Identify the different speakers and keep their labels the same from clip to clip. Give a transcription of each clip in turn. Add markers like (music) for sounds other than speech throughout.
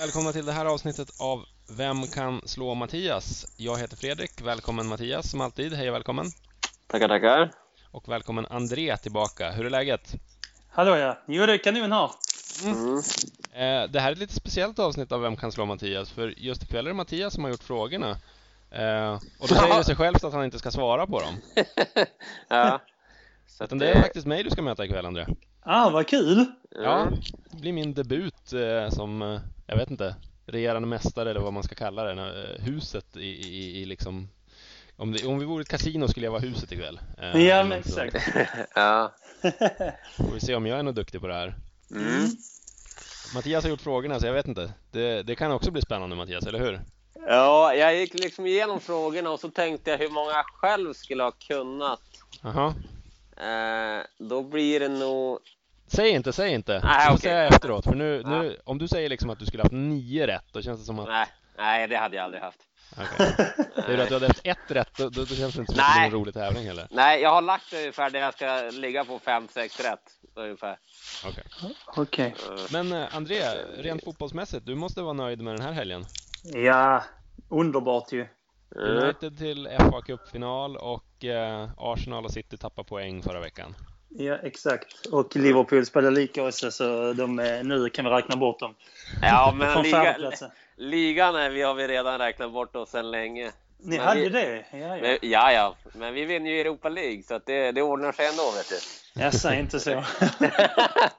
Speaker 1: Välkomna till det här avsnittet av Vem kan slå Mattias? Jag heter Fredrik. Välkommen Mattias som alltid. Hej och välkommen.
Speaker 2: Tackar, tackar.
Speaker 1: Och välkommen André tillbaka. Hur är läget?
Speaker 3: Hallå ja, njure kanon här.
Speaker 2: Mm.
Speaker 1: Eh, Det här är ett lite speciellt avsnitt av Vem kan slå Mattias? För just ikväll är det Mattias som har gjort frågorna. Eh, Och då säger det sig självt att han inte ska svara på dem.
Speaker 2: ja. (laughs) Så
Speaker 1: Utan det är faktiskt mig du ska möta ikväll André.
Speaker 3: Ah, vad kul!
Speaker 1: Ja,
Speaker 2: Mm.
Speaker 1: det blir min debut eh, som, eh, jag vet inte, regerande mästare eller vad man ska kalla det, när, eh, huset i, i, i liksom om, det, om vi vore ett kasino skulle jag vara huset ikväll. Eh,
Speaker 3: Ja,
Speaker 1: eller
Speaker 3: men
Speaker 1: något sånt.
Speaker 3: exakt.
Speaker 2: (laughs) Ja.
Speaker 1: Får vi se om jag är något duktig på det här.
Speaker 2: Mm.
Speaker 1: Mattias har gjort frågorna så jag vet inte. Det, det kan också bli spännande Mattias, eller hur?
Speaker 2: ja, jag gick liksom igenom frågorna och så tänkte jag hur många jag själv skulle ha kunnat.
Speaker 1: Jaha.
Speaker 2: Eh, då blir det nog...
Speaker 1: Säg inte, säg inte.
Speaker 2: Nej,
Speaker 1: du får
Speaker 2: okej.
Speaker 1: säga efteråt. För nu, nu, om du säger liksom att du skulle haft nio rätt, då känns det som att...
Speaker 2: Nej, nej, det hade jag aldrig haft.
Speaker 1: Okej. Det är ju att du hade haft ett rätt, då, då, då känns det inte som att det blir
Speaker 2: Nej.
Speaker 1: en rolig tävling heller.
Speaker 2: Nej, jag har lagt ungefär det jag ska ligga på 5-6 rätt. Ungefär.
Speaker 1: Okej.
Speaker 3: Okej.
Speaker 2: Eh,
Speaker 1: Men eh, André, rent fotbollsmässigt, du måste vara nöjd med den här helgen.
Speaker 3: Ja, underbart ju.
Speaker 2: Mm.
Speaker 1: United till FA Cup-final och eh, Arsenal och City tappade poäng förra veckan.
Speaker 3: Ja, exakt. Och Liverpool spelar lika också, så de, är- nu kan vi räkna bort dem.
Speaker 2: Ja, men
Speaker 3: Från
Speaker 2: liga,
Speaker 3: fjärdeplatsen.
Speaker 2: ligan är vi, har vi redan räknat bort oss sedan länge.
Speaker 3: Ni
Speaker 2: men
Speaker 3: hade
Speaker 2: vi-
Speaker 3: det? Ja, ja.
Speaker 2: Men, ja, ja, men vi vinner ju Europa League så att det, det ordnar sig ändå, vet du.
Speaker 3: Jag säger
Speaker 2: (laughs)
Speaker 3: inte så.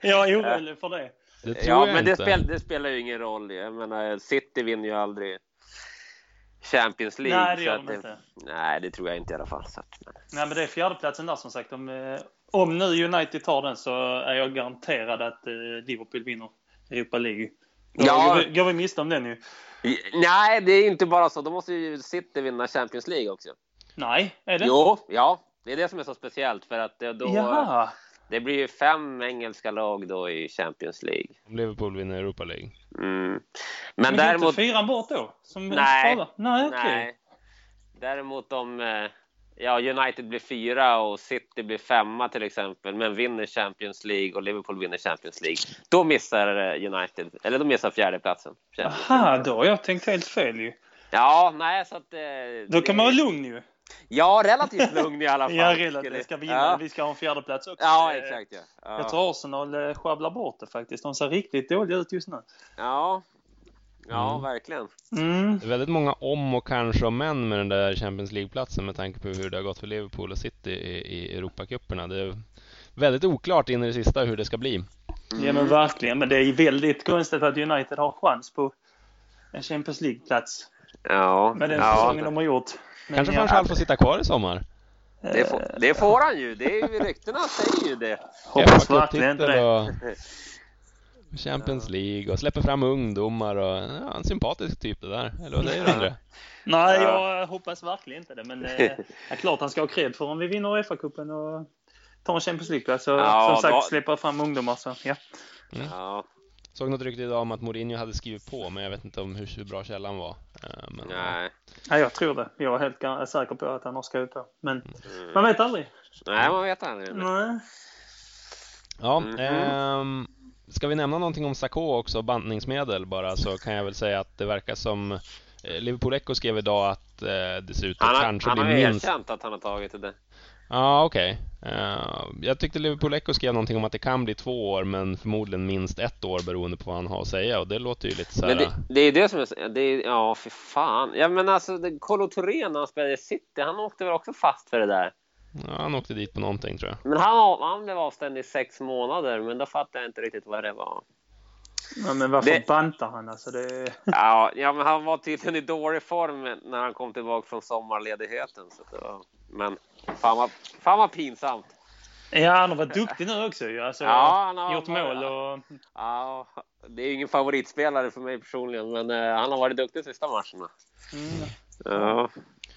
Speaker 3: jag är orolig för det.
Speaker 1: Det tror
Speaker 2: Ja,
Speaker 1: jag
Speaker 2: men det,
Speaker 1: inte.
Speaker 2: spel, det spelar ju ingen roll. Jag menar, City vinner ju aldrig Champions League.
Speaker 3: Nej, det gör
Speaker 2: så att
Speaker 3: de inte.
Speaker 2: Nej, det tror jag inte i alla fall. Så att,
Speaker 3: Nej, men det är fjärdeplatsen där som sagt. Om, eh, om nu United tar den så är jag garanterad att eh, Liverpool vinner Europa League. Då
Speaker 2: Ja.
Speaker 3: går, vi, går vi miste om den ju.
Speaker 2: nej, det är inte bara så. Då måste ju City vinna Champions League också.
Speaker 3: Nej, är det?
Speaker 2: Jo, ja. Det är det som är så speciellt. För att det- då,
Speaker 3: Jaha.
Speaker 2: det blir ju fem engelska lag då i Champions League.
Speaker 1: Om Liverpool vinner Europa League.
Speaker 2: Mm. Men,
Speaker 3: Men däremot... inte fyran bort då? Som
Speaker 2: Nej.
Speaker 3: skada? Nej, okej.
Speaker 2: Nej. Däremot om eh, ja, United blir fyra och City blir femma till exempel, men vinner Champions League och Liverpool vinner Champions League, då missar eh, United, eller då missar fjärdeplatsen. Champions League.
Speaker 3: Aha, då har jag tänkt helt fel ju.
Speaker 2: Ja, nej så att... eh,
Speaker 3: Då
Speaker 2: det-
Speaker 3: kan man vara lugn ju.
Speaker 2: Ja, relativt lugn i alla fall.
Speaker 3: (laughs) Ja, relativt.
Speaker 2: skulle-
Speaker 3: Jag ska vinna.
Speaker 2: Ja,
Speaker 3: Vi ska ha en fjärdeplats också.
Speaker 2: ja
Speaker 3: Eh,
Speaker 2: exakt ja.
Speaker 3: Jag
Speaker 2: Ja,
Speaker 3: tror Arsenal eh, sjabblar bort det faktiskt. De ser riktigt dåliga ut just nu.
Speaker 2: ja. ja
Speaker 1: Mm.
Speaker 2: verkligen.
Speaker 3: Mm.
Speaker 1: Det är väldigt många om och kanske och men med den där Champions League-platsen med tanke på hur det har gått för Liverpool och City i, i Europacuperna. Det är väldigt oklart in i det sista hur det ska bli.
Speaker 3: Ja,
Speaker 2: Mm.
Speaker 3: men verkligen. Men det är väldigt konstigt att United har chans på en Champions League-plats
Speaker 2: Ja,
Speaker 3: med den
Speaker 2: ja.
Speaker 3: säsongen de har gjort. Men
Speaker 1: Kanske
Speaker 3: ja, eh,
Speaker 1: van Schaal får sitta kvar i sommar.
Speaker 2: Det, får, det får han ju. Det är ju, ryktena säger ju det.
Speaker 3: Hoppas
Speaker 1: FA
Speaker 3: verkligen inte
Speaker 1: Cup-titel
Speaker 3: det.
Speaker 1: och
Speaker 2: (laughs)
Speaker 1: Champions League och släpper fram ungdomar och ja, en sympatisk typ det där. Eller vad säger du
Speaker 2: (laughs)
Speaker 1: André?
Speaker 3: Nej,
Speaker 2: Ja.
Speaker 3: jag hoppas verkligen inte det. Men eh,
Speaker 2: (laughs)
Speaker 3: det är klart han ska ha cred för om vi vinner FA-cupen och tar en Champions League-plats. Så,
Speaker 2: Ja,
Speaker 3: som sagt,
Speaker 2: då-
Speaker 3: släppa fram ungdomar. Så, ja.
Speaker 2: Ja.
Speaker 1: Såg något rykte idag om att Mourinho hade skrivit på, men jag vet inte om hur, hur bra källan var. Eh, Men,
Speaker 2: Nej.
Speaker 3: Nej, jag tror det. Jag är helt gar- säker på att han har skrivit på. Men
Speaker 2: Mm.
Speaker 3: man vet aldrig.
Speaker 2: Nej, man vet aldrig.
Speaker 3: Nej.
Speaker 1: Ja,
Speaker 2: Mhm.
Speaker 1: ehm, ska vi nämna någonting om Sakå också, bantningsmedel bara, så kan jag väl säga att det verkar som eh, Liverpool Echo skrev idag att eh, det ser ut att
Speaker 2: Han, har-
Speaker 1: kanske
Speaker 2: han har
Speaker 1: bli
Speaker 2: ju
Speaker 1: minst... Ja,
Speaker 2: erkänt att han har tagit det.
Speaker 1: okej. Eh, jag tyckte Liverpool Echo skrev någonting om att det kan bli två år, men förmodligen minst ett år beroende på vad han har att säga och det låter ju lite så här...
Speaker 2: Men det, det är det som är... Det är ja, för fan. Ja, men alltså, det- Kolo Touré när han spelade i City, han åkte väl också fast för det där.
Speaker 1: Ja, han åkte dit på någonting tror jag.
Speaker 2: Men han, han blev avstängd i sex månader, men då fattade jag inte riktigt vad det var.
Speaker 3: Ja, men varför
Speaker 2: Det-
Speaker 3: bantar han? Alltså, det...
Speaker 2: Ja, ja men han var tydligen i dålig form när han kom tillbaka från sommarledigheten. Så att det var, men fan vad, fan vad pinsamt.
Speaker 3: Ja, han har varit duktig nu också. ju. Alltså,
Speaker 2: Ja, han har
Speaker 3: gjort
Speaker 2: varit-
Speaker 3: mål och...
Speaker 2: Ja, det är ju ingen favoritspelare för mig personligen, men eh, han har varit duktig sista matcherna.
Speaker 3: Mm.
Speaker 2: Ja.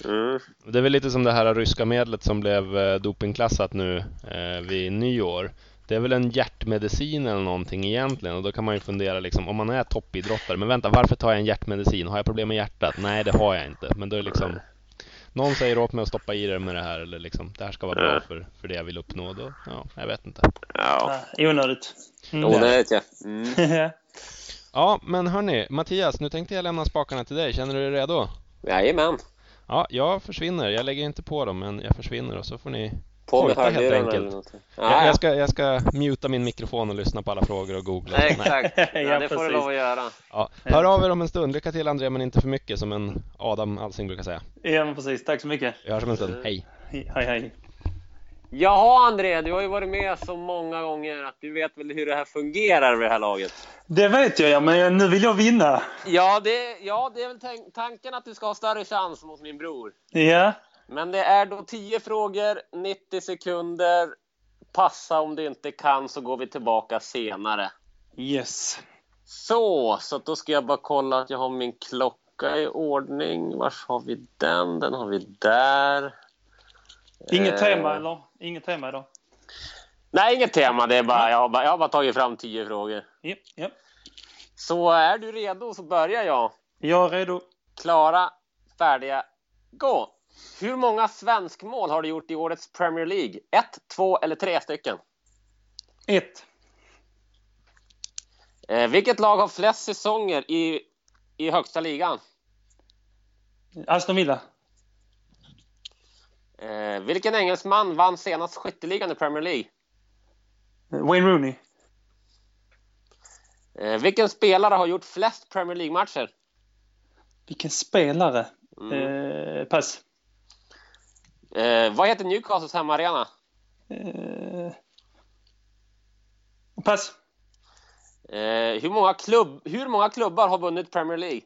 Speaker 2: Mm.
Speaker 1: Det är väl lite som det här ryska medlet som blev eh, dopingklassat nu eh, vid nyår. Det är väl en hjärtmedicin eller någonting egentligen och då kan man ju fundera liksom om man är toppidrottare, men vänta varför tar jag en hjärtmedicin? Har jag problem med hjärtat? Nej det har jag inte, men då är det liksom någon säger åt mig att stoppa i det med det här eller liksom det här ska vara bra för, för det jag vill uppnå då, ja, jag vet inte.
Speaker 2: Ja.
Speaker 3: Ja, onödigt. Mm.
Speaker 2: Onödigt ja. Mm.
Speaker 1: Ja, Ja, men hörni, Mattias, nu tänkte jag lämna spakarna till dig. Känner du dig redo?
Speaker 2: Jajamän.
Speaker 1: Ja, jag försvinner. Jag lägger inte på dem, men jag försvinner och så får ni...
Speaker 2: På med
Speaker 1: Tolka helt
Speaker 2: hörlurarna
Speaker 1: enkelt.
Speaker 2: eller någonting.
Speaker 1: Jag,
Speaker 2: Ja,
Speaker 1: jag,
Speaker 2: ja.
Speaker 1: ska, jag ska muta min mikrofon och lyssna på alla frågor och googla.
Speaker 2: Nej,
Speaker 1: Nej.
Speaker 2: exakt.
Speaker 1: (laughs)
Speaker 2: Ja,
Speaker 3: Ja,
Speaker 2: det får du
Speaker 3: precis.
Speaker 2: lov att göra.
Speaker 1: Ja. Hör av er om en stund. Lycka till André, men inte för mycket som en Adam Alsing brukar säga.
Speaker 3: (laughs) Ja, men precis. Tack så mycket.
Speaker 1: Vi hörs om en stund. Hej!
Speaker 3: Hej, hej.
Speaker 2: Jaha André, du har ju varit med så många gånger att du vet väl hur det här fungerar vid det här laget?
Speaker 3: Det vet jag, ja, men nu vill jag vinna.
Speaker 2: Ja, det, ja, det är väl tan- tanken att du ska ha större chans mot min bror.
Speaker 3: Ja,
Speaker 2: Men det är då 10 frågor, 90 sekunder. Passa om du inte kan så går vi tillbaka senare.
Speaker 3: yes.
Speaker 2: Så, så att då ska jag bara kolla att jag har min klocka i ordning. Vars har vi den? Den har vi där.
Speaker 3: Inget
Speaker 2: Eh.
Speaker 3: tema eller? Inget tema idag?
Speaker 2: Nej, inget tema. Det är bara, jag, har bara, jag har bara tagit fram 10 frågor.
Speaker 3: Ja, ja.
Speaker 2: Så är du redo så börjar jag.
Speaker 3: Jag är redo.
Speaker 2: Klara, färdiga, gå! Hur många svenskmål har du gjort i årets Premier League? Ett, två eller tre stycken?
Speaker 3: Ett.
Speaker 2: Eh, vilket lag har flest säsonger i, i högsta ligan?
Speaker 3: Aston Villa.
Speaker 2: Eh, vilken engelsman vann senast skytteligan i Premier League?
Speaker 3: Wayne Rooney.
Speaker 2: Eh, vilken spelare har gjort flest Premier League-matcher?
Speaker 3: Vilken spelare.
Speaker 2: Mm.
Speaker 3: Eh, pass.
Speaker 2: Eh, vad heter Newcastles hemmaarena?
Speaker 3: Eh, pass.
Speaker 2: Eh, hur, många klubb, hur många klubbar har vunnit Premier League?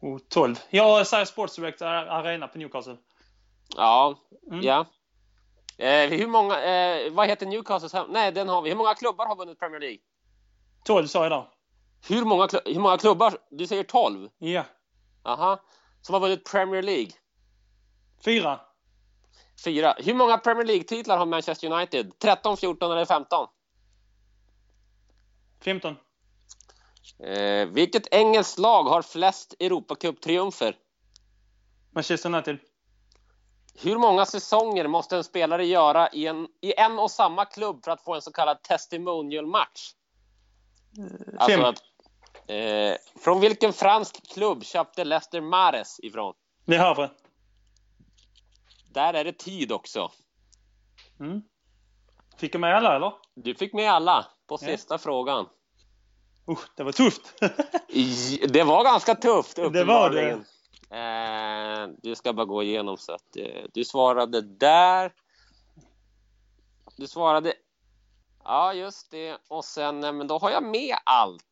Speaker 3: Oh, 12. Jag säger Sports Direct Arena på Newcastle.
Speaker 2: Ja,
Speaker 3: Mm.
Speaker 2: ja. Eh, hur många, eh, vad heter Newcastles hem... Nej, den har vi. Hur många klubbar har vunnit Premier League?
Speaker 3: 12 sa jag där.
Speaker 2: Hur många, klu- hur många klubbar? Du säger 12?
Speaker 3: Ja.
Speaker 2: Aha. Som har vunnit Premier League?
Speaker 3: Fyra.
Speaker 2: Fyra. Hur många Premier League-titlar har Manchester United? 13, 14 eller 15?
Speaker 3: 15.
Speaker 2: Eh, vilket engelskt lag har flest Europacup-triumfer?
Speaker 3: Manchester United.
Speaker 2: Hur många säsonger måste en spelare göra i en, i en och samma klubb för att få en så kallad testimonial-match? Alltså
Speaker 3: Fem.
Speaker 2: att, eh, från vilken fransk klubb köpte Leicester Mares ifrån?
Speaker 3: Det är Havre.
Speaker 2: Där är det tid också.
Speaker 3: Mm. Fick jag med alla eller?
Speaker 2: Du fick med alla på
Speaker 3: Ja.
Speaker 2: sista frågan.
Speaker 3: Usch, det var tufft. (laughs)
Speaker 2: I- Det var ganska tufft
Speaker 3: Det var det.
Speaker 2: uppenbarligen. Eh, du ska bara gå igenom så att eh, du svarade där. Du svarade... Ja, just det. Och sen, eh, men då har jag med allt.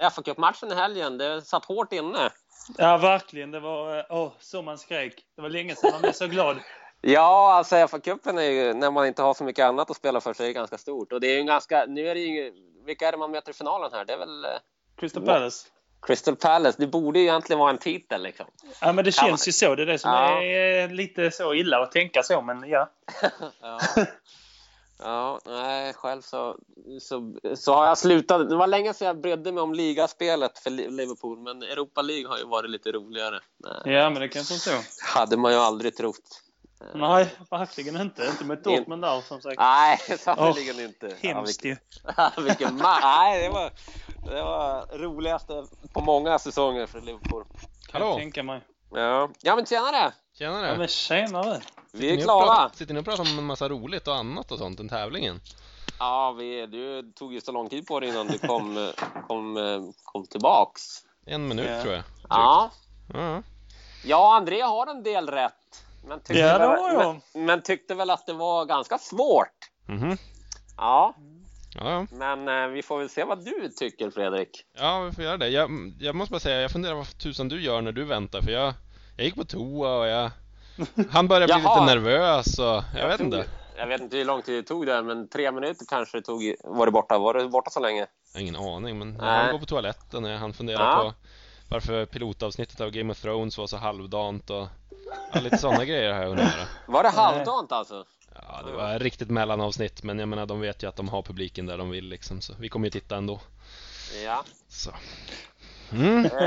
Speaker 2: fa Cup-matchen i helgen, det satt hårt inne.
Speaker 3: ja, verkligen. Det var eh, åh, så man skrek. Det var länge sedan man blev så glad.
Speaker 2: Ja, alltså FA-cupen är ju, när man inte har så mycket annat att spela för sig, är det ganska stort. Och det är ju en ganska, nu är det ju, vilka är det man möter i finalen här? Det är väl eh,
Speaker 3: Crystal
Speaker 2: Ja.
Speaker 3: Palace.
Speaker 2: Crystal Palace. Det borde ju egentligen vara en titel liksom.
Speaker 3: Ja, men det
Speaker 2: Kan
Speaker 3: känns ju så. Det är det som
Speaker 2: Ja.
Speaker 3: är eh, lite så illa att tänka så, men ja.
Speaker 2: Ja. Ja, nej, själv så, så, så har jag slutat. Det var länge sedan jag brydde mig om ligaspelet för Li- Liverpool, men Europa League har ju varit lite roligare. Nej,
Speaker 3: Ja, men det kanske är så.
Speaker 2: hade man ju aldrig trott.
Speaker 3: Nej, verkligen inte. Inte med Dortmund där, som sagt.
Speaker 2: Nej, (laughs) sannerligen inte. (laughs) Ja,
Speaker 3: Hemskt ju.
Speaker 2: vilken, vilken ma- Nej, det var, det var roligaste på många säsonger för Liverpool.
Speaker 3: Kan jag
Speaker 1: Hallå.
Speaker 3: tänka mig.
Speaker 2: Ja, ja men tjenare!
Speaker 3: Ja,
Speaker 1: Tjenare!
Speaker 3: men tjenare.
Speaker 2: Vi är
Speaker 1: Ni
Speaker 2: klara!
Speaker 1: pratar- Sitter ni och pratar om en massa roligt och annat och sånt än tävlingen?
Speaker 2: Ja, vi, du tog ju så lång tid på dig innan du kom, (laughs) eh, kom, eh, kom tillbaks.
Speaker 1: En minut
Speaker 3: Ja.
Speaker 1: tror jag.
Speaker 2: Ja.
Speaker 1: Ja.
Speaker 2: Ja, André har en del rätt. Men tyckte,
Speaker 3: Ja, det
Speaker 2: väl,
Speaker 3: har jag.
Speaker 2: Men, men tyckte väl att det var ganska svårt.
Speaker 1: Mhm.
Speaker 2: Ja,
Speaker 1: Ja, ja.
Speaker 2: men eh, vi får väl se vad du tycker Fredrik.
Speaker 1: ja, vi får göra det. Jag, jag måste bara säga, jag funderar vad tusan du gör när du väntar för jag, jag gick på toa och jag... Han börjar bli lite
Speaker 2: (laughs) Jaha.
Speaker 1: nervös och jag vet inte.
Speaker 2: Jag vet inte hur lång tid det tog där, men tre minuter kanske det tog. i- Var du borta? Var du borta så länge?
Speaker 1: Jag har ingen aning men
Speaker 2: Nej.
Speaker 1: han går på toaletten och han funderar
Speaker 2: Ja.
Speaker 1: på varför pilotavsnittet av Game of Thrones var så halvdant och ja, lite sådana (laughs) grejer har jag undrat.
Speaker 2: Var det halvdant alltså?
Speaker 1: Ja, det var riktigt mellanavsnitt men jag menar de vet ju att de har publiken där de vill liksom så vi kommer ju titta ändå.
Speaker 2: Ja.
Speaker 1: Så.
Speaker 2: (laughs)
Speaker 1: Mm.
Speaker 2: Eh,
Speaker 1: Någon-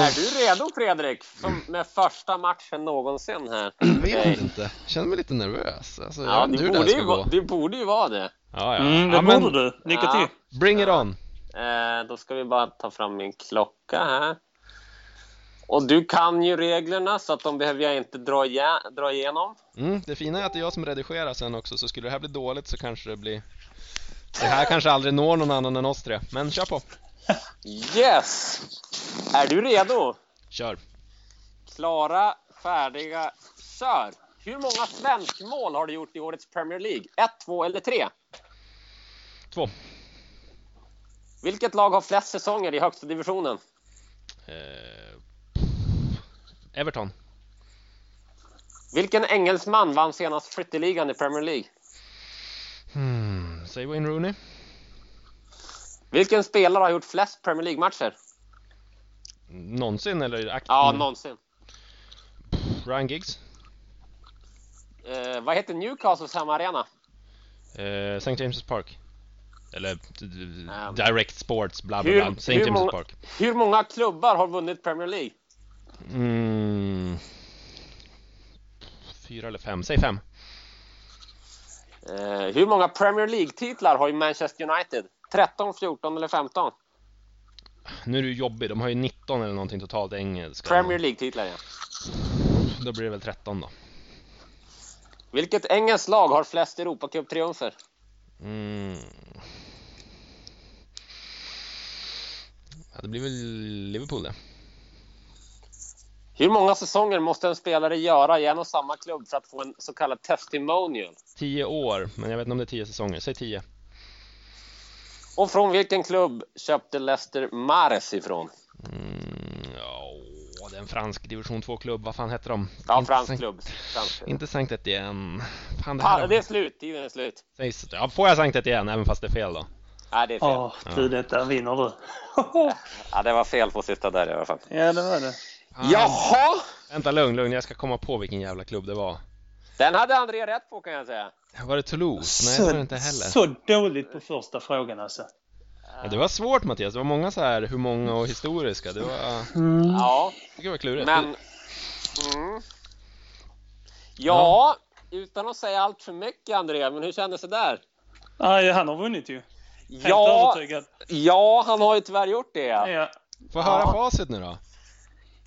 Speaker 2: är du redo Fredrik? Som med första matchen någonsin här.
Speaker 1: vet inte. Jag känner mig lite nervös. Alltså, jag
Speaker 2: Ja,
Speaker 1: vet inte
Speaker 2: du,
Speaker 1: hur det här
Speaker 2: borde
Speaker 1: ska
Speaker 2: ju,
Speaker 1: gå.
Speaker 2: va- du borde ju vara det.
Speaker 1: Ja, ja.
Speaker 3: Mm, det
Speaker 1: ja, men,
Speaker 3: borde du. Lycka
Speaker 2: Ja.
Speaker 3: till.
Speaker 1: Bring it on.
Speaker 2: Eh, då ska vi bara ta fram min klocka här. Och du kan ju reglerna så att de behöver jag inte dra, igen- dra igenom.
Speaker 1: Mm, det fina är att det är jag som redigerar sen också, så skulle det här bli dåligt så kanske det blir... Det här kanske aldrig når någon annan än oss tre, men kör på!
Speaker 2: Yes! Är du redo?
Speaker 1: Kör!
Speaker 2: Klara, färdiga, kör! Hur många svenskmål har du gjort i årets Premier League? Ett, två eller tre?
Speaker 1: Två.
Speaker 2: Vilket lag har flest säsonger i högsta divisionen?
Speaker 1: Eh, Everton.
Speaker 2: Vilken engelsman vann senast skytteligan i Premier League?
Speaker 1: Hmm, säg Wayne Rooney.
Speaker 2: Vilken spelare har gjort flest Premier League-matcher?
Speaker 1: Någonsin eller aktivt?
Speaker 2: Ja, någonsin.
Speaker 1: Ryan Giggs.
Speaker 2: Eh, vad heter Newcastles hemmaarena?
Speaker 1: Eh, St. James' Park. Eller d- d-
Speaker 2: Um,
Speaker 1: Direct Sports, bla bla
Speaker 2: hur-
Speaker 1: bla. St.
Speaker 2: hur
Speaker 1: James'
Speaker 2: många-
Speaker 1: Park.
Speaker 2: Hur många klubbar har vunnit Premier League?
Speaker 1: Mm. Fyra eller fem, säg fem.
Speaker 2: Eh, hur många Premier League-titlar har ju Manchester United? 13, 14 eller 15?
Speaker 1: Nu är du jobbig, de har ju 19 eller någonting totalt engelska.
Speaker 2: Premier League-titlar, ja.
Speaker 1: Då blir det väl 13 då.
Speaker 2: Vilket engelskt lag har flest Europacup-triumfer?
Speaker 1: Mm. Ja, det blir väl Liverpool det.
Speaker 2: Hur många säsonger måste en spelare göra i en och samma klubb för att få en så kallad testimonial?
Speaker 1: 10 år, men jag vet inte om det är 10 säsonger. Säg 10.
Speaker 2: Och från vilken klubb köpte Leicester Mares ifrån?
Speaker 1: Mm, ja, åh, det är en fransk division 2-klubb. Vad fan hette de?
Speaker 2: Ja,
Speaker 1: Inte
Speaker 2: fransk
Speaker 1: Sankt-
Speaker 2: klubb. Fransk klubb.
Speaker 1: Inte Sankt Etienne. Fan, det
Speaker 2: Pa,
Speaker 1: här...
Speaker 2: det är slut, tiden är slut.
Speaker 1: Sägs- Ja, får jag Sankt Etienne, även fast det är fel då?
Speaker 2: Nej, det är fel.
Speaker 3: Åh, du detta vinner du. (laughs)
Speaker 2: Ja, det var fel på sista där i alla fall.
Speaker 3: ja, det var det.
Speaker 1: Fan.
Speaker 2: Jaha!
Speaker 1: Vänta, lugn, lugn. Jag ska komma på vilken jävla klubb det var.
Speaker 2: Den hade André rätt på kan jag säga.
Speaker 1: Var det Toulouse? Nej, det var det inte heller.
Speaker 3: så dåligt på första frågan alltså.
Speaker 1: Ja, det var svårt Mattias, det var många så här hur många och historiska. Det var, Mm.
Speaker 2: Ja,
Speaker 1: det var klurigt.
Speaker 2: men... Mm. Ja, utan att säga allt för mycket André, men hur kändes det där?
Speaker 3: Nej, han har vunnit ju. Helt
Speaker 2: Ja,
Speaker 3: övertygad.
Speaker 2: ja, han har ju tyvärr gjort det. ja.
Speaker 3: Ja.
Speaker 1: Få höra
Speaker 2: Ja.
Speaker 1: facit nu då.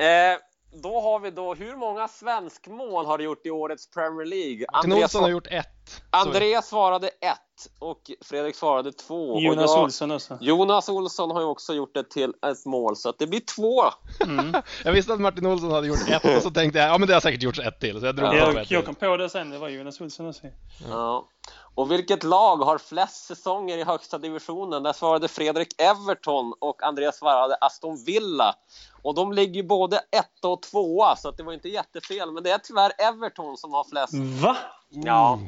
Speaker 2: Eh, då har vi då, hur många svenskmål har du gjort i årets Premier League? Andreas,
Speaker 1: Knolsson har gjort ett. Så,
Speaker 2: Andreas svarade ett och Fredrik svarade två. Och
Speaker 3: Jonas
Speaker 2: jag-
Speaker 3: Olsson också.
Speaker 2: Jonas Olsson har ju också gjort ett till ett mål, så att det blir två.
Speaker 3: Mm.
Speaker 1: jag visste att Martin Olsson hade gjort ett och så tänkte jag, ja men det har säkert gjorts ett till. Så jag drog på
Speaker 3: Jag,
Speaker 1: ett
Speaker 3: jag
Speaker 1: till.
Speaker 3: kom på det sen, det var Jonas Olsson också.
Speaker 2: Ja. Och vilket lag har flest säsonger i högsta divisionen? Där svarade Fredrik Everton och Andreas svarade Aston Villa. Och de ligger ju både ett och tvåa, så att det var inte jättefel. Men det är tyvärr Everton som har flest.
Speaker 3: Va?
Speaker 2: Ja,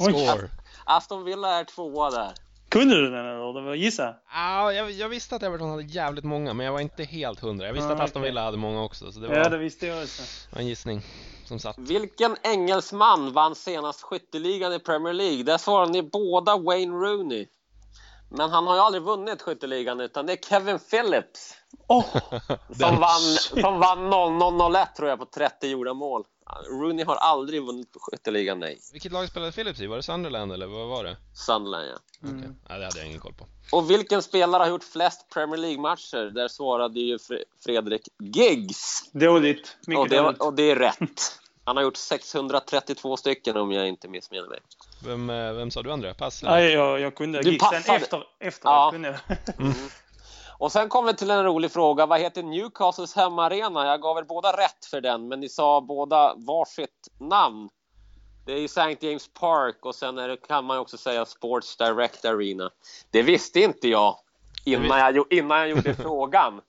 Speaker 3: Oj.
Speaker 1: Score.
Speaker 2: Aston Villa är tvåa där.
Speaker 3: Kunde du den eller? Det var gissa.
Speaker 1: Ja, jag, jag visste att Everton hade jävligt många, men jag var inte helt hundra. Jag visste
Speaker 3: Ja,
Speaker 1: att Aston
Speaker 3: okej.
Speaker 1: Villa hade många också, så det var,
Speaker 3: Ja, det visste jag också.
Speaker 1: var en gissning som satt.
Speaker 2: Vilken engelsman vann senast skytteligan i Premier League? Där svarar ni båda Wayne Rooney. Men han har ju aldrig vunnit skytteligan utan det är Kevin Phillips
Speaker 3: Åh!
Speaker 1: (laughs) Den-
Speaker 2: som vann, som vann 0001 tror jag på 30 gjorda mål. Rooney har aldrig vunnit skytteligan, nej.
Speaker 1: Vilket lag spelade Phillips i? Var det Sunderland eller vad var det?
Speaker 2: Sunderland, ja.
Speaker 1: Okej. Nej, det hade jag ingen koll på.
Speaker 2: Och vilken spelare har gjort flest Premier League-matcher? Där svarade ju Fre- Fredrik Giggs.
Speaker 3: Dåligt. Mycket
Speaker 2: Och det,
Speaker 3: dåligt.
Speaker 2: var- och det är rätt. Han har gjort 632 stycken om jag inte missminner mig.
Speaker 1: Vem, eh, vem sa du André? Pass? eller?
Speaker 3: Nej, jag, jag kunde
Speaker 2: Du
Speaker 3: gissa
Speaker 2: passade.
Speaker 3: efter, efter
Speaker 2: Ja. Mm.
Speaker 3: jag kunde jag.
Speaker 2: Och sen kommer vi till en rolig fråga. Vad heter Newcastles hemmaarena? Jag gav er båda rätt för den, men ni sa båda varsitt namn. Det är ju St. James Park och sen är det, kan man ju också säga Sports Direct Arena. Det visste inte jag innan jag, gjo- innan jag gjorde frågan.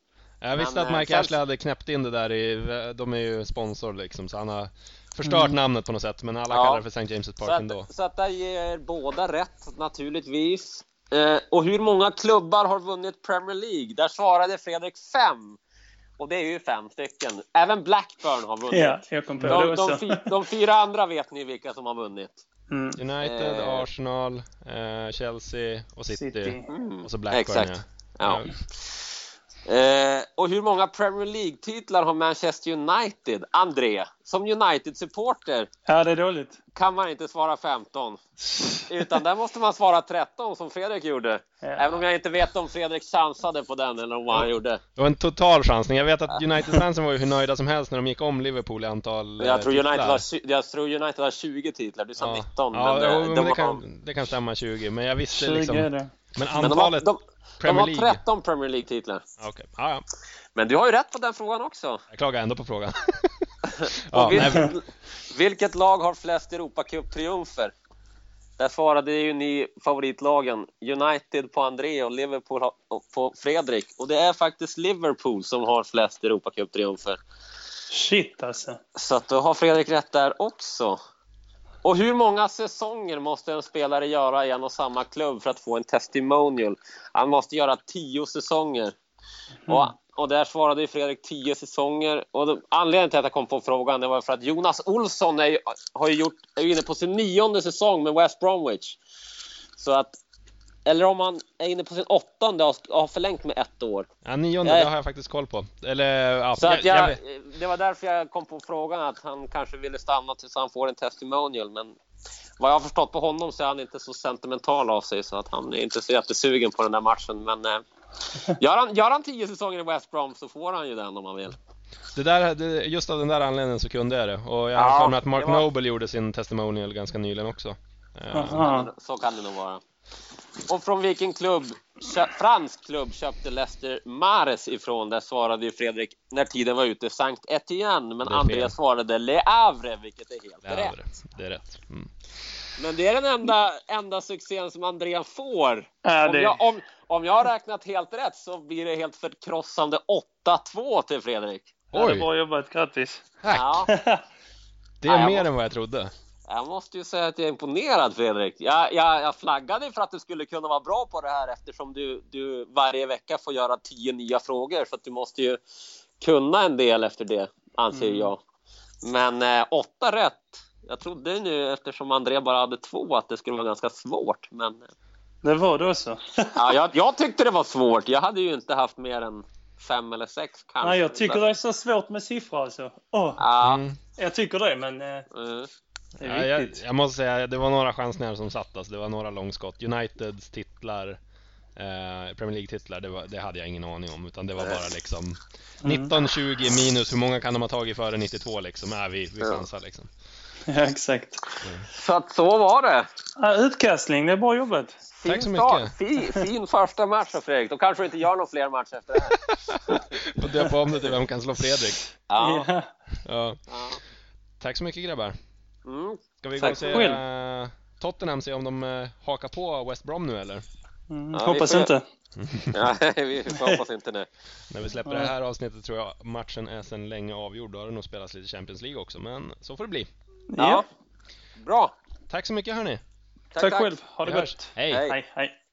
Speaker 1: Jag visste
Speaker 2: Men,
Speaker 1: att
Speaker 2: eh,
Speaker 1: Mike
Speaker 2: sen-
Speaker 1: Ashley hade knäppt in det där i, de är ju sponsor liksom så han har förstört
Speaker 3: Mm.
Speaker 1: namnet på något sätt men alla
Speaker 2: Ja.
Speaker 1: kallar det för St. James'
Speaker 2: Så
Speaker 1: Park ändå.
Speaker 2: att, så att där ger er båda rätt naturligtvis. Eh, och hur många klubbar har vunnit Premier League? Där svarade Fredrik fem. Och det är ju fem stycken. Även Blackburn har vunnit.
Speaker 3: (laughs) Ja, jag kom på det
Speaker 2: De,
Speaker 3: också.
Speaker 2: de, fi- de fyra andra vet ni vilka som har vunnit.
Speaker 3: Mm.
Speaker 1: United,
Speaker 2: Eh.
Speaker 1: Arsenal, eh, Chelsea och City. Mm.
Speaker 3: City.
Speaker 1: Och så Blackburn
Speaker 2: Mm. Exakt.
Speaker 1: ja.
Speaker 2: Ja. Eh, och hur många Premier League-titlar har Manchester United? André, som United-supporter
Speaker 3: Ja, det är dåligt.
Speaker 2: kan man inte svara 15. Utan där måste man svara 13 som Fredrik gjorde.
Speaker 3: Ja.
Speaker 2: Även om jag inte vet om Fredrik chansade på den eller vad han gjorde.
Speaker 1: Det var en total chansning. Jag vet att United-fansen var ju hur nöjda som helst när de gick om Liverpool i antal eh,
Speaker 2: Jag tror, United
Speaker 1: titlar.
Speaker 2: har, sy- jag tror United har 20 titlar, du sa
Speaker 1: Ja.
Speaker 2: 19.
Speaker 1: Ja,
Speaker 2: men, eh,
Speaker 1: jo,
Speaker 2: de
Speaker 1: men det,
Speaker 2: har-
Speaker 1: kan, det kan stämma 20, men jag visste
Speaker 3: 20
Speaker 1: liksom...
Speaker 3: är det.
Speaker 1: Men
Speaker 2: men de, har,
Speaker 1: antalet...
Speaker 2: de, de
Speaker 1: Premier
Speaker 2: har
Speaker 1: League.
Speaker 2: 13 Premier League-titlar.
Speaker 1: Okej, ja, ja.
Speaker 2: Men du har ju rätt på den frågan också.
Speaker 1: Jag klagar ändå på
Speaker 2: (laughs)
Speaker 1: frågan. (laughs)
Speaker 2: Och
Speaker 1: ja, nej,
Speaker 2: vilket, vilket lag har flest Europacup-triumfer? Där svarade ju ni favoritlagen. United på André och Liverpool har- och på Fredrik. Och det är faktiskt Liverpool som har flest Europacup-triumfer.
Speaker 3: Shit alltså.
Speaker 2: Så att då har Fredrik rätt där också. Och hur många säsonger måste en spelare göra i en och samma klubb för att få en testimonial? Han måste göra tio säsonger. Och, och där svarade ju Fredrik tio säsonger. Och då, anledningen till att jag kom på frågan det var för att Jonas Olsson är, ju- har ju gjort, är ju inne på sin nionde säsong med West Bromwich. Så att, eller om han är inne på sin åttonde och har förlängt med ett år.
Speaker 1: ja, nionde, det har jag faktiskt koll på. Eller, ja,
Speaker 2: Så att
Speaker 1: jag- jag
Speaker 2: jag,
Speaker 1: vet-
Speaker 2: det var därför jag kom på frågan att han kanske ville stanna tills han får en testimonial. Men vad jag har förstått på honom så är han inte så sentimental av sig så att han är inte så jättesugen på den där matchen.
Speaker 1: (laughs)
Speaker 2: Men eh, gör, han, gör han tio säsonger i West Brom så får han ju den om han vill.
Speaker 1: det där, det, just av den där anledningen så kunde jag det. Och jag har
Speaker 2: Ja,
Speaker 1: för mig att Mark
Speaker 2: det var-
Speaker 1: Noble gjorde sin testimonial ganska nyligen också. Eh,
Speaker 3: Aha.
Speaker 2: Så kan det nog vara. Och från vilken klubb, kö- fransk klubb köpte Leicester Mares ifrån? Där svarade ju Fredrik när tiden var ute Sankt Etienne. Men
Speaker 1: Det är fel.
Speaker 2: Andreas svarade Le Havre, vilket är helt
Speaker 1: det, är
Speaker 2: rätt.
Speaker 1: rätt. det är rätt. Mm.
Speaker 2: Men det är den enda, enda succén som Andrea får.
Speaker 3: Ja,
Speaker 2: om,
Speaker 3: det-
Speaker 2: jag, om, om jag har räknat helt rätt så blir det helt förkrossande 8-2 till Fredrik.
Speaker 3: Ja, det är
Speaker 1: Oj,
Speaker 3: bra jobbat, grattis. (laughs)
Speaker 1: tack!
Speaker 2: Ja,
Speaker 1: Det
Speaker 2: Ja,
Speaker 1: är
Speaker 2: jag
Speaker 1: mer
Speaker 2: var-
Speaker 1: än vad jag trodde.
Speaker 2: jag måste ju säga att jag är imponerad Fredrik. Jag, jag, jag flaggade för att du skulle kunna vara bra på det här eftersom du, du varje vecka får göra 10 nya frågor. Så att du måste ju kunna en del efter det, anser
Speaker 3: Mm.
Speaker 2: jag. Men eh, åtta rätt. Jag trodde ju nu eftersom André bara hade två att det skulle vara ganska svårt. Men
Speaker 3: Det var du också.
Speaker 2: Ja, jag, jag tyckte det var svårt. Jag hade ju inte haft mer än fem eller sex kanske.
Speaker 3: Nej, jag tycker det är så svårt med siffror alltså. Åh,
Speaker 2: Ja,
Speaker 1: Mm.
Speaker 3: jag tycker det, men eh,
Speaker 2: mm.
Speaker 3: det
Speaker 1: Ja,
Speaker 3: är
Speaker 1: jag,
Speaker 3: viktigt. (laughs)
Speaker 1: jag måste säga, det var några chansningar som satt alltså. Det var några långskott. Uniteds titlar, eh, Premier League-titlar, det, var- det hade jag ingen aning om. Utan det var bara liksom 19-20 minus, hur många kan de ha tagit före 92 liksom? Nej, vi, vi
Speaker 2: Ja.
Speaker 1: chansar liksom. (laughs)
Speaker 3: Ja, exakt.
Speaker 2: Så att så var det.
Speaker 3: Ja, utkastning, det är bra jobbat.
Speaker 2: Fin
Speaker 1: Tack så
Speaker 2: start.
Speaker 1: mycket.
Speaker 2: Fin, fin första match då, Fredrik. Då kanske du inte gör några fler matcher efter det här.
Speaker 1: Får döpa om det till Vem kan slå Fredrik?
Speaker 2: Ja.
Speaker 3: Ja.
Speaker 1: Ja.
Speaker 2: Ja.
Speaker 1: Tack så mycket grabbar.
Speaker 2: Mm. (laughs)
Speaker 1: Ska vi gå
Speaker 2: Tack
Speaker 1: och se
Speaker 3: själv.
Speaker 1: eh, Tottenham, se om de eh, hakar på West Brom nu eller?
Speaker 3: Mm,
Speaker 2: Ja, vi
Speaker 3: hoppas
Speaker 2: får-
Speaker 3: inte.
Speaker 2: Ja, vi får hoppas inte nu.
Speaker 1: När vi släpper det här avsnittet tror jag matchen är sedan länge avgjord. Då har det nog spelats lite Champions League också, men så får det bli.
Speaker 2: Ja. Bra.
Speaker 1: Tack så mycket hörni!
Speaker 3: Tack, själv. Ha det
Speaker 1: Vi hörs.
Speaker 3: gott.
Speaker 1: Hej!
Speaker 2: Hej.
Speaker 3: Hej, hej.